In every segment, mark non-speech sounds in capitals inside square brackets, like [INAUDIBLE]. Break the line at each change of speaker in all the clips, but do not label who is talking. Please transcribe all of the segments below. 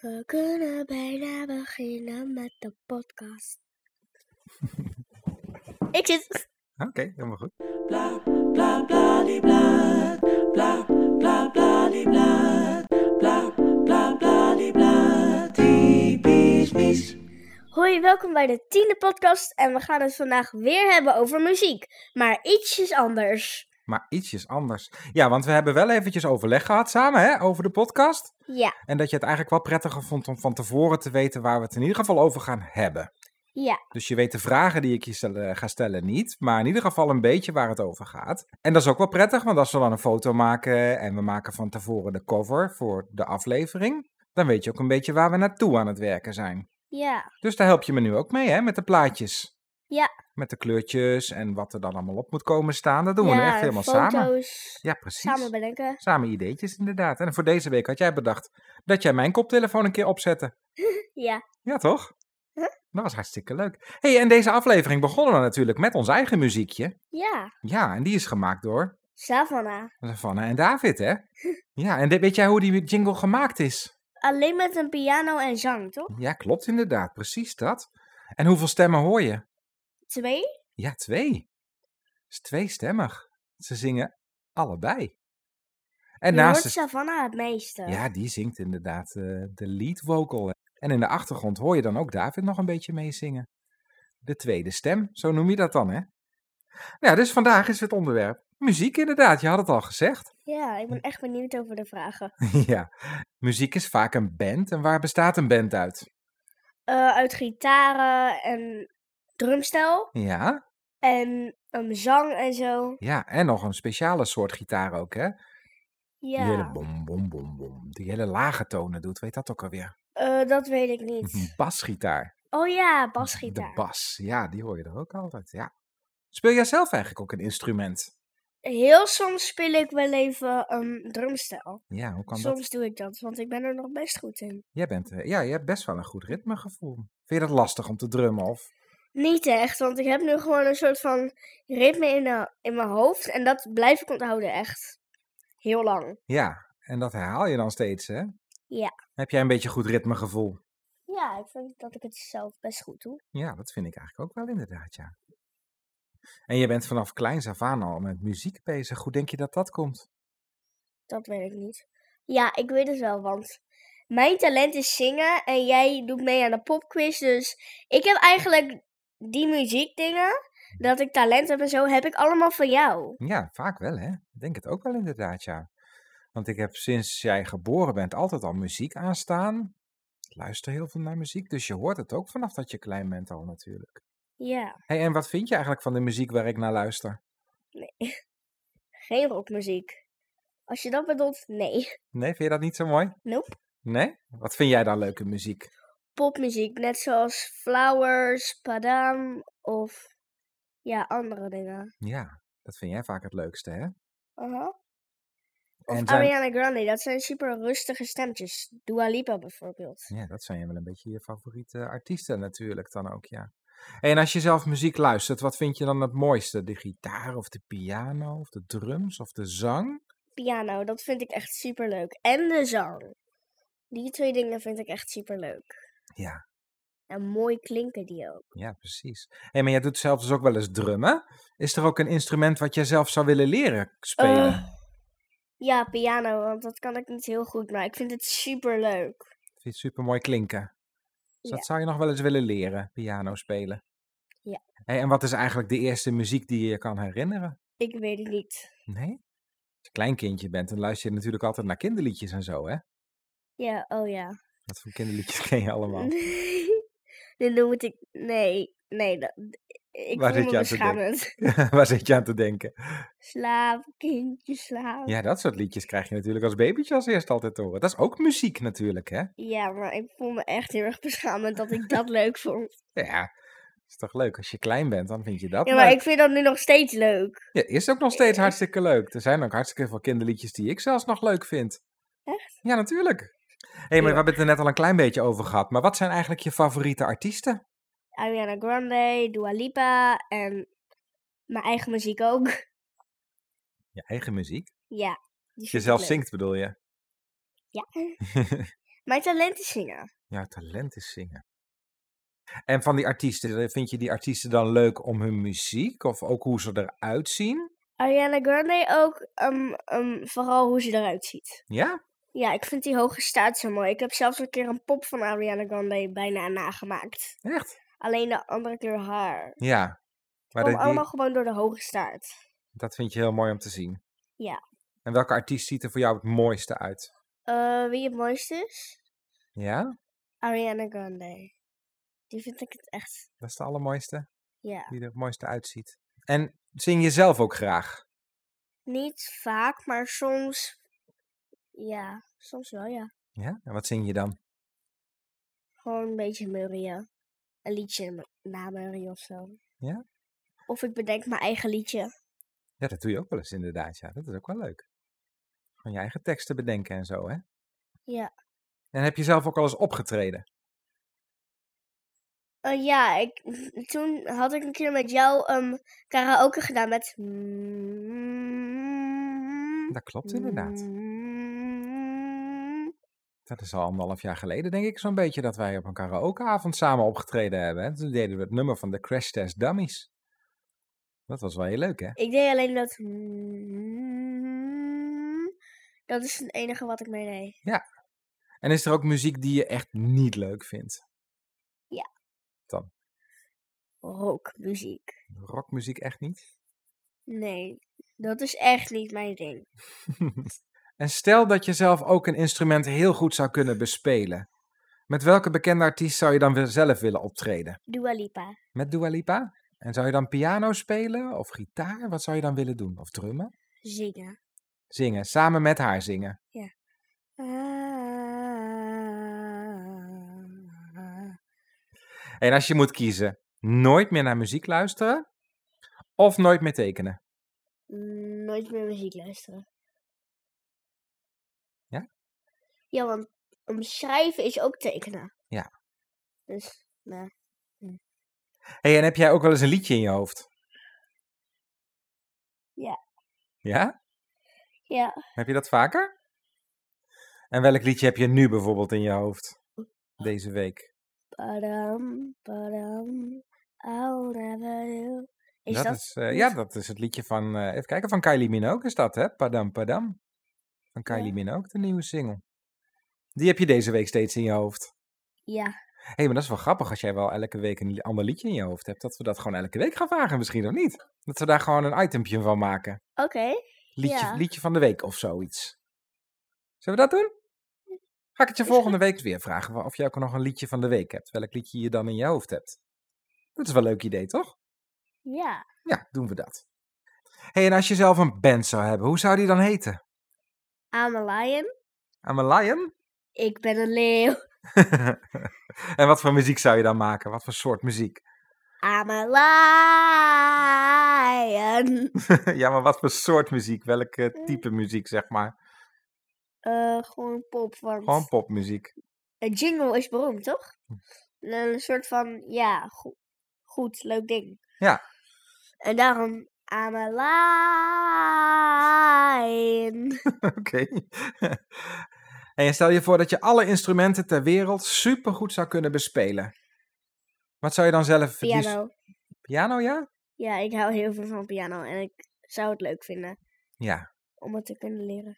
We kunnen bijna beginnen met de podcast. Ik zit.
Oké, helemaal goed.
Bla bla bla die bla. Bla bla bla die bla. Bla bla bla die bla. Typisch mis.
Hoi, welkom bij de tiende podcast. En we gaan het vandaag weer hebben over muziek. Maar ietsjes anders.
Maar ietsjes anders. Ja, want we hebben wel eventjes overleg gehad samen hè, over de podcast.
Ja,
En dat je het eigenlijk wel prettiger vond om van tevoren te weten waar we het in ieder geval over gaan hebben.
ja,
Dus je weet de vragen die ik je stel- ga stellen niet, maar in ieder geval een beetje waar het over gaat. En dat is ook wel prettig, want als we dan een foto maken en we maken van tevoren de cover voor de aflevering, dan weet je ook een beetje waar we naartoe aan het werken zijn.
ja,
Dus daar help je me nu ook mee, hè, met de plaatjes.
Ja.
Met de kleurtjes en wat er dan allemaal op moet komen staan. Dat doen we nu
ja,
echt helemaal
foto's,
samen.
Samen,
Ja, precies.
bedenken.
Samen ideetjes, inderdaad. En voor deze week had jij bedacht dat jij mijn koptelefoon een keer opzette.
Ja,
Ja, toch?
Huh?
Dat was hartstikke leuk. hey, en deze aflevering begonnen we natuurlijk met ons eigen muziekje.
ja.
Ja, en die is gemaakt door
Savannah.
Savannah en David, hè? Ja, en de- weet jij hoe die jingle gemaakt is?
Alleen met een piano en zang, toch?
Ja, klopt inderdaad. Precies dat. En hoeveel stemmen hoor je?
Twee?
Ja, twee. Het is tweestemmig. Ze zingen allebei. En
Je
naast
hoort
de
Savannah het meeste.
Ja, die zingt inderdaad eh, de lead vocal. En in de achtergrond hoor je dan ook David nog een beetje meezingen. De tweede stem, zo noem je dat dan, hè? Ja, dus vandaag is het onderwerp muziek inderdaad. Je had het al gezegd. [LAUGHS]
Ja, ik ben echt benieuwd over de vragen.
ja, muziek is vaak een band. En waar bestaat een band uit?
Eh, uit gitaren en drumstel
Ja,
en een zang en zo.
ja, en nog een speciale soort gitaar ook, hè? Die hele
Ja,
bom, bom, bom, bom. Die hele lage tonen doet, weet dat ook alweer.
eh, dat weet ik
Een
niet.
[LAUGHS] basgitaar.
Oh ja,
Mhm. De
basgitaar.
bas, ja, die hoor je er ook altijd, ja. Speel jij zelf eigenlijk ook een instrument?
Heel soms speel ik wel even een drumstel.
Ja, hoe kan dat?
Soms doe ik dat, want ik ben er nog best goed in.
Jij bent, eh, ja, je hebt best wel een goed ritmegevoel. Vind je dat lastig om te drummen of?
Niet echt, want ik heb nu gewoon een soort van ritme in, de- in mijn hoofd. En dat blijf ik onthouden, echt. Heel lang.
Ja, en dat herhaal je dan steeds, hè?
Ja.
Heb jij een beetje goed ritmegevoel?
Ja, ik vind dat ik het zelf best goed doe.
Ja, dat vind ik eigenlijk ook wel inderdaad, ja. En je bent vanaf kleins af aan al met muziek bezig. Hoe denk je dat dat komt?
Dat weet ik niet. Ja, ik weet het wel, want mijn talent is zingen en jij doet mee aan de popquiz. Dus ik heb eigenlijk die muziekdingen, dat ik talent heb en zo, heb ik allemaal van jou.
Ja, vaak wel, hè? Ik denk het ook wel inderdaad, ja. Want ik heb sinds jij geboren bent altijd al muziek aanstaan. Ik luister heel veel naar muziek, dus je hoort het ook vanaf dat je klein bent al natuurlijk.
Ja,
hey, en wat vind je eigenlijk van de muziek waar ik naar luister?
geen rockmuziek. Als je dat bedoelt, nee. [LAUGHS]
Nee, vind je dat niet zo mooi?
Nope.
Nee? Wat vind jij dan leuke muziek?
Popmuziek, net zoals Flowers, Padam of ja, andere dingen.
Ja, dat vind jij vaak het leukste, hè?
Aha. Of
En zijn-
Ariana Grande, dat zijn super rustige stemtjes. Dua Lipa bijvoorbeeld.
Ja, dat zijn wel een beetje je favoriete artiesten natuurlijk dan ook, ja. En als je zelf muziek luistert, wat vind je dan het mooiste? De gitaar of de piano of de drums of de zang?
piano, dat vind ik echt super leuk. En de zang. Die twee dingen vind ik echt super leuk.
Ja.
En mooi klinken die ook.
Ja, precies. Hé, maar jij doet zelf dus ook wel eens drummen. Is er ook een instrument wat jij zelf zou willen leren spelen?
Eh. Ja, piano, want dat kan ik niet heel goed, maar ik vind het super leuk.
Vind je het supermooi klinken? Dus
Ja.
dat zou je nog wel eens willen leren, piano spelen.
Ja.
Hey, en wat is eigenlijk de eerste muziek die je je kan herinneren?
Ik weet het niet.
Nee? Als je klein kindje bent, dan luister je natuurlijk altijd naar kinderliedjes en zo, hè?
Ja, oh ja.
Wat voor kinderliedjes ken je allemaal? [LAUGHS]
Nee, [LAUGHS] dan moet ik. Nee, nee. Dat... Ik
Waar
voel
zit
me
je aan te denken?
beschamend. [LAUGHS]
Waar zit je aan te denken?
Slaap, kindje, slaap. Ja.
Ja, dat soort liedjes krijg je natuurlijk als babytje als eerst altijd te horen. Dat is ook muziek natuurlijk, hè?
maar ik voel me echt heel erg beschamend dat ik dat leuk vond.
Ja, is toch leuk? Als je klein bent, dan vind je dat
Ja, maar
leuk.
ik vind dat nu nog steeds leuk.
Ja, is ook nog
Eh,
steeds hartstikke leuk. Er zijn ook hartstikke veel kinderliedjes die ik zelfs nog leuk vind.
Echt?
Ja, natuurlijk. Hé, hey, maar we hebben het er net al een klein beetje over gehad. Maar wat zijn eigenlijk je favoriete artiesten?
Ariana Grande, Dua Lipa en mijn eigen muziek ook. [LAUGHS]
Je eigen muziek.
Ja. die vind
Je
ik
zelf
leuk.
[LAUGHS] zingt, bedoel je?
Ja. Mijn talent is zingen.
Jouw talent is zingen. En van die artiesten, eh, vind je die artiesten dan leuk om hun muziek of ook hoe ze eruit zien?
Ariana Grande ook, ehm, ehm, vooral hoe ze eruit ziet.
Ja?
Ja, ik vind die hoge staat zo mooi. Ik heb zelfs een keer een pop van Ariana Grande bijna nagemaakt.
Echt?
Alleen de andere kleur haar.
Ja. Maar
Kom
dat, die-
allemaal gewoon door de hoge staart.
dat vind je heel mooi om te zien.
Ja.
En welke artiest ziet er voor jou het mooiste uit?
Eh, wie het mooiste is?
Ja?
Ariana Grande. Die vind ik het echt.
Dat is de allermooiste?
Ja.
Die er het mooiste uitziet. En zing je zelf ook graag?
Niet vaak, maar soms. Ja, soms wel, ja.
Ja? En wat zing je dan?
Gewoon een beetje murrien. Een liedje m- na murrien of zo.
Ja?
Of ik bedenk mijn eigen liedje.
Ja, dat doe je ook wel eens inderdaad. Ja, dat is ook wel leuk. Van je eigen teksten bedenken en zo, hè?
Ja.
En heb je zelf ook al eens opgetreden?
Eh, ja, ik, [LAUGHS] toen had ik een keer met jou ehm karaoke gedaan met.
Dat klopt inderdaad. Dat is al anderhalf jaar geleden, denk ik, zo'n beetje, dat wij op een karaokeavond samen opgetreden hebben. Hè? Toen deden we het nummer van de Crash Test Dummies. Dat was wel heel leuk, hè?
Ik deed alleen dat. Dat is het enige wat ik mee deed.
En is er ook muziek die je echt niet leuk vindt?
Rockmuziek.
Rockmuziek echt niet?
Nee, dat is echt niet mijn ding.
en stel dat je zelf ook een instrument heel goed zou kunnen bespelen. Met welke bekende artiest zou je dan weer zelf willen optreden?
Dua Lipa.
Met Dua Lipa? En zou je dan piano spelen of gitaar? Wat zou je dan willen doen? Of drummen?
Zingen.
Zingen, samen met haar zingen.
Ah.
En als je moet kiezen, nooit meer naar muziek luisteren of nooit meer tekenen.
Nooit meer muziek luisteren.
Ja?
Ja, want om schrijven is ook tekenen.
Ja.
Dus, nou.
Hé, hey, en heb jij ook wel eens een liedje in je hoofd?
Ja.
Ja?
Ja.
Heb je dat vaker? En welk liedje heb je nu bijvoorbeeld in je hoofd? Deze week.
Padam, padam, I'll never do. Is dat?
is, eh, ja, dat is het liedje van, eh, even kijken, van Kylie Minogue is dat, hè? Padam Padam. Van Kylie
Ja.
Minogue, de nieuwe single. Die heb je deze week steeds in je hoofd.
Ja.
Hé, hey, maar dat is wel grappig als jij wel elke week een li- ander liedje in je hoofd hebt. Dat we dat gewoon elke week gaan vragen misschien, of niet? Dat we daar gewoon een itempje van maken.
Oké.
Liedje,
Ja.
liedje van de week of zoiets. Zullen we dat doen? Ga ik het je
Is
volgende week weer vragen wa- of jij ook nog een liedje van de week hebt. Welk liedje je dan in je hoofd hebt. Dat is wel een leuk idee, toch?
Ja.
Ja, doen we dat. hey, en als je zelf een band zou hebben, hoe zou die dan heten?
I'm a lion.
I'm a lion? [LAUGHS]
Ik ben een leeuw.
en wat voor muziek zou je dan maken? Wat voor soort muziek? [LAUGHS]
I'm a
[LAUGHS]
lion.
ja, maar wat voor soort muziek? Welk eh, type muziek, zeg maar?
Eh, gewoon pop, want
Gewoon Hm. popmuziek.
een jingle is beroemd, toch? Een soort van, ja, go- goed, leuk ding.
Ja.
En daarom, I'm a lion.
Oké. [LAUGHS] en stel je voor dat je alle instrumenten ter wereld supergoed zou kunnen bespelen. Wat zou je dan zelf... het liefst-
Piano.
Piano, ja?
Ja, ik hou heel veel van piano en ik zou het leuk vinden
Ja.
om het te kunnen leren.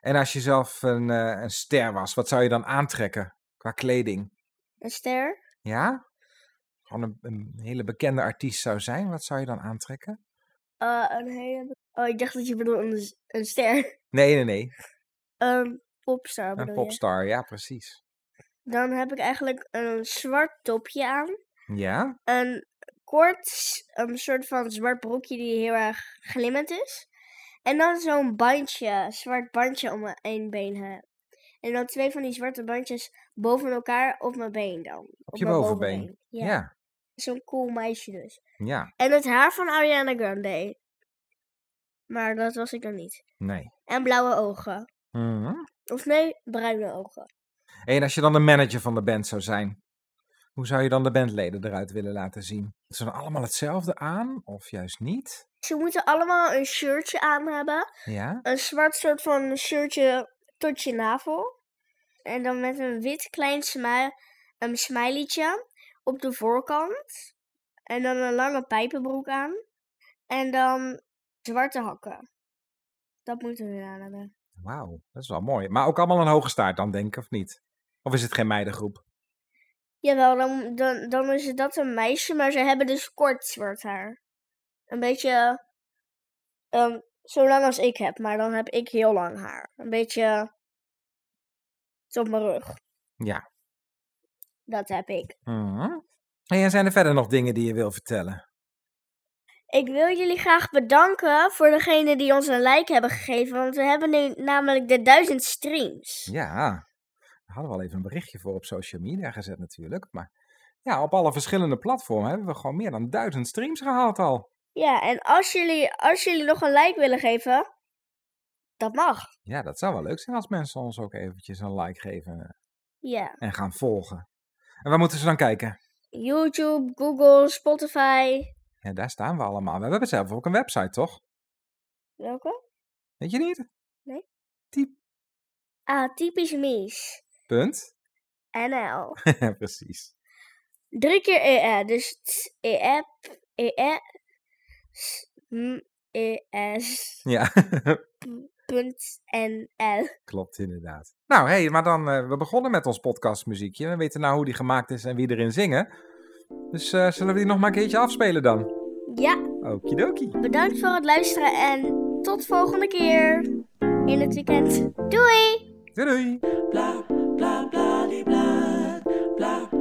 En als je zelf een, eh, een ster was, wat zou je dan aantrekken qua kleding?
Een ster?
Ja? Gewoon een, een hele bekende artiest zou zijn, wat zou je dan aantrekken?
Eh, een hele... Oh, ik dacht dat je bedoelde een, een ster. [LAUGHS]
Nee, nee, nee.
Een popstar bedoel
Een
je?
popstar, ja, precies.
Dan heb ik eigenlijk een zwart topje aan.
Ja?
Een kort, s- een soort van zwart broekje die heel erg glimmend is. En dan zo'n bandje, zwart bandje om mijn één been heen. En dan twee van die zwarte bandjes boven elkaar op mijn been dan. Op,
je
mijn
bovenbeen.
Ja,
Ja. Ja.
zo'n cool meisje dus. En het haar van Ariana Grande. Maar dat was ik dan niet.
Nee.
En blauwe ogen.
Mhm.
Of nee, bruine ogen.
En als je dan de manager van de band zou zijn, hoe zou je dan de bandleden eruit willen laten zien? Ze dan allemaal hetzelfde aan, of juist niet?
Ze moeten allemaal een shirtje aan hebben.
Ja?
een zwart soort van shirtje tot je navel. en dan met een wit klein smi een smileytje op de voorkant. En dan een lange pijpenbroek aan. En dan zwarte hakken. Dat moeten we aan hebben.
Wauw, dat is wel mooi. Maar ook allemaal een hoge staart dan, denk ik, of niet? Of is het geen meidengroep?
Jawel, dan, dan, dan is dat een meisje, maar ze hebben dus kort zwart haar. Een beetje ehm, zo lang als ik heb, maar dan heb ik heel lang haar. Een beetje tot mijn rug.
Ja.
Dat heb ik.
Mhm. En zijn er verder nog dingen die je wil vertellen?
Ik wil jullie graag bedanken voor degene die ons een like hebben gegeven, want we hebben nu namelijk de duizend streams.
Ja, daar hadden we al even een berichtje voor op social media gezet natuurlijk. Maar ja, op alle verschillende platformen hebben we gewoon meer dan duizend streams gehaald al.
Ja, en als jullie, als jullie nog een like willen geven, dat mag.
Ja, dat zou wel leuk zijn als mensen ons ook eventjes een like geven
Ja.
en gaan volgen. En waar moeten ze dan kijken?
YouTube, Google, Spotify.
Ja, daar staan we allemaal. We hebben zelf ook een website, toch?
Welke?
Weet je niet?
Ah, typisch Mies.
Punt. [LAUGHS]
NL.
Ja, precies.
Drie keer EE, dus t, EE, p, EE, s, m, ES,
Ja, [LAUGHS]
punt, NL.
klopt inderdaad. Nou, hey, maar dan, eh, we begonnen met ons podcastmuziekje. We weten nou hoe die gemaakt is en wie erin zingen. Dus eh, zullen we die nog maar een keertje afspelen dan?
Ja,
Okidoki.
bedankt voor het luisteren en tot volgende keer in het weekend. Doei!
Doei doei.
blah blah blah blah blah blah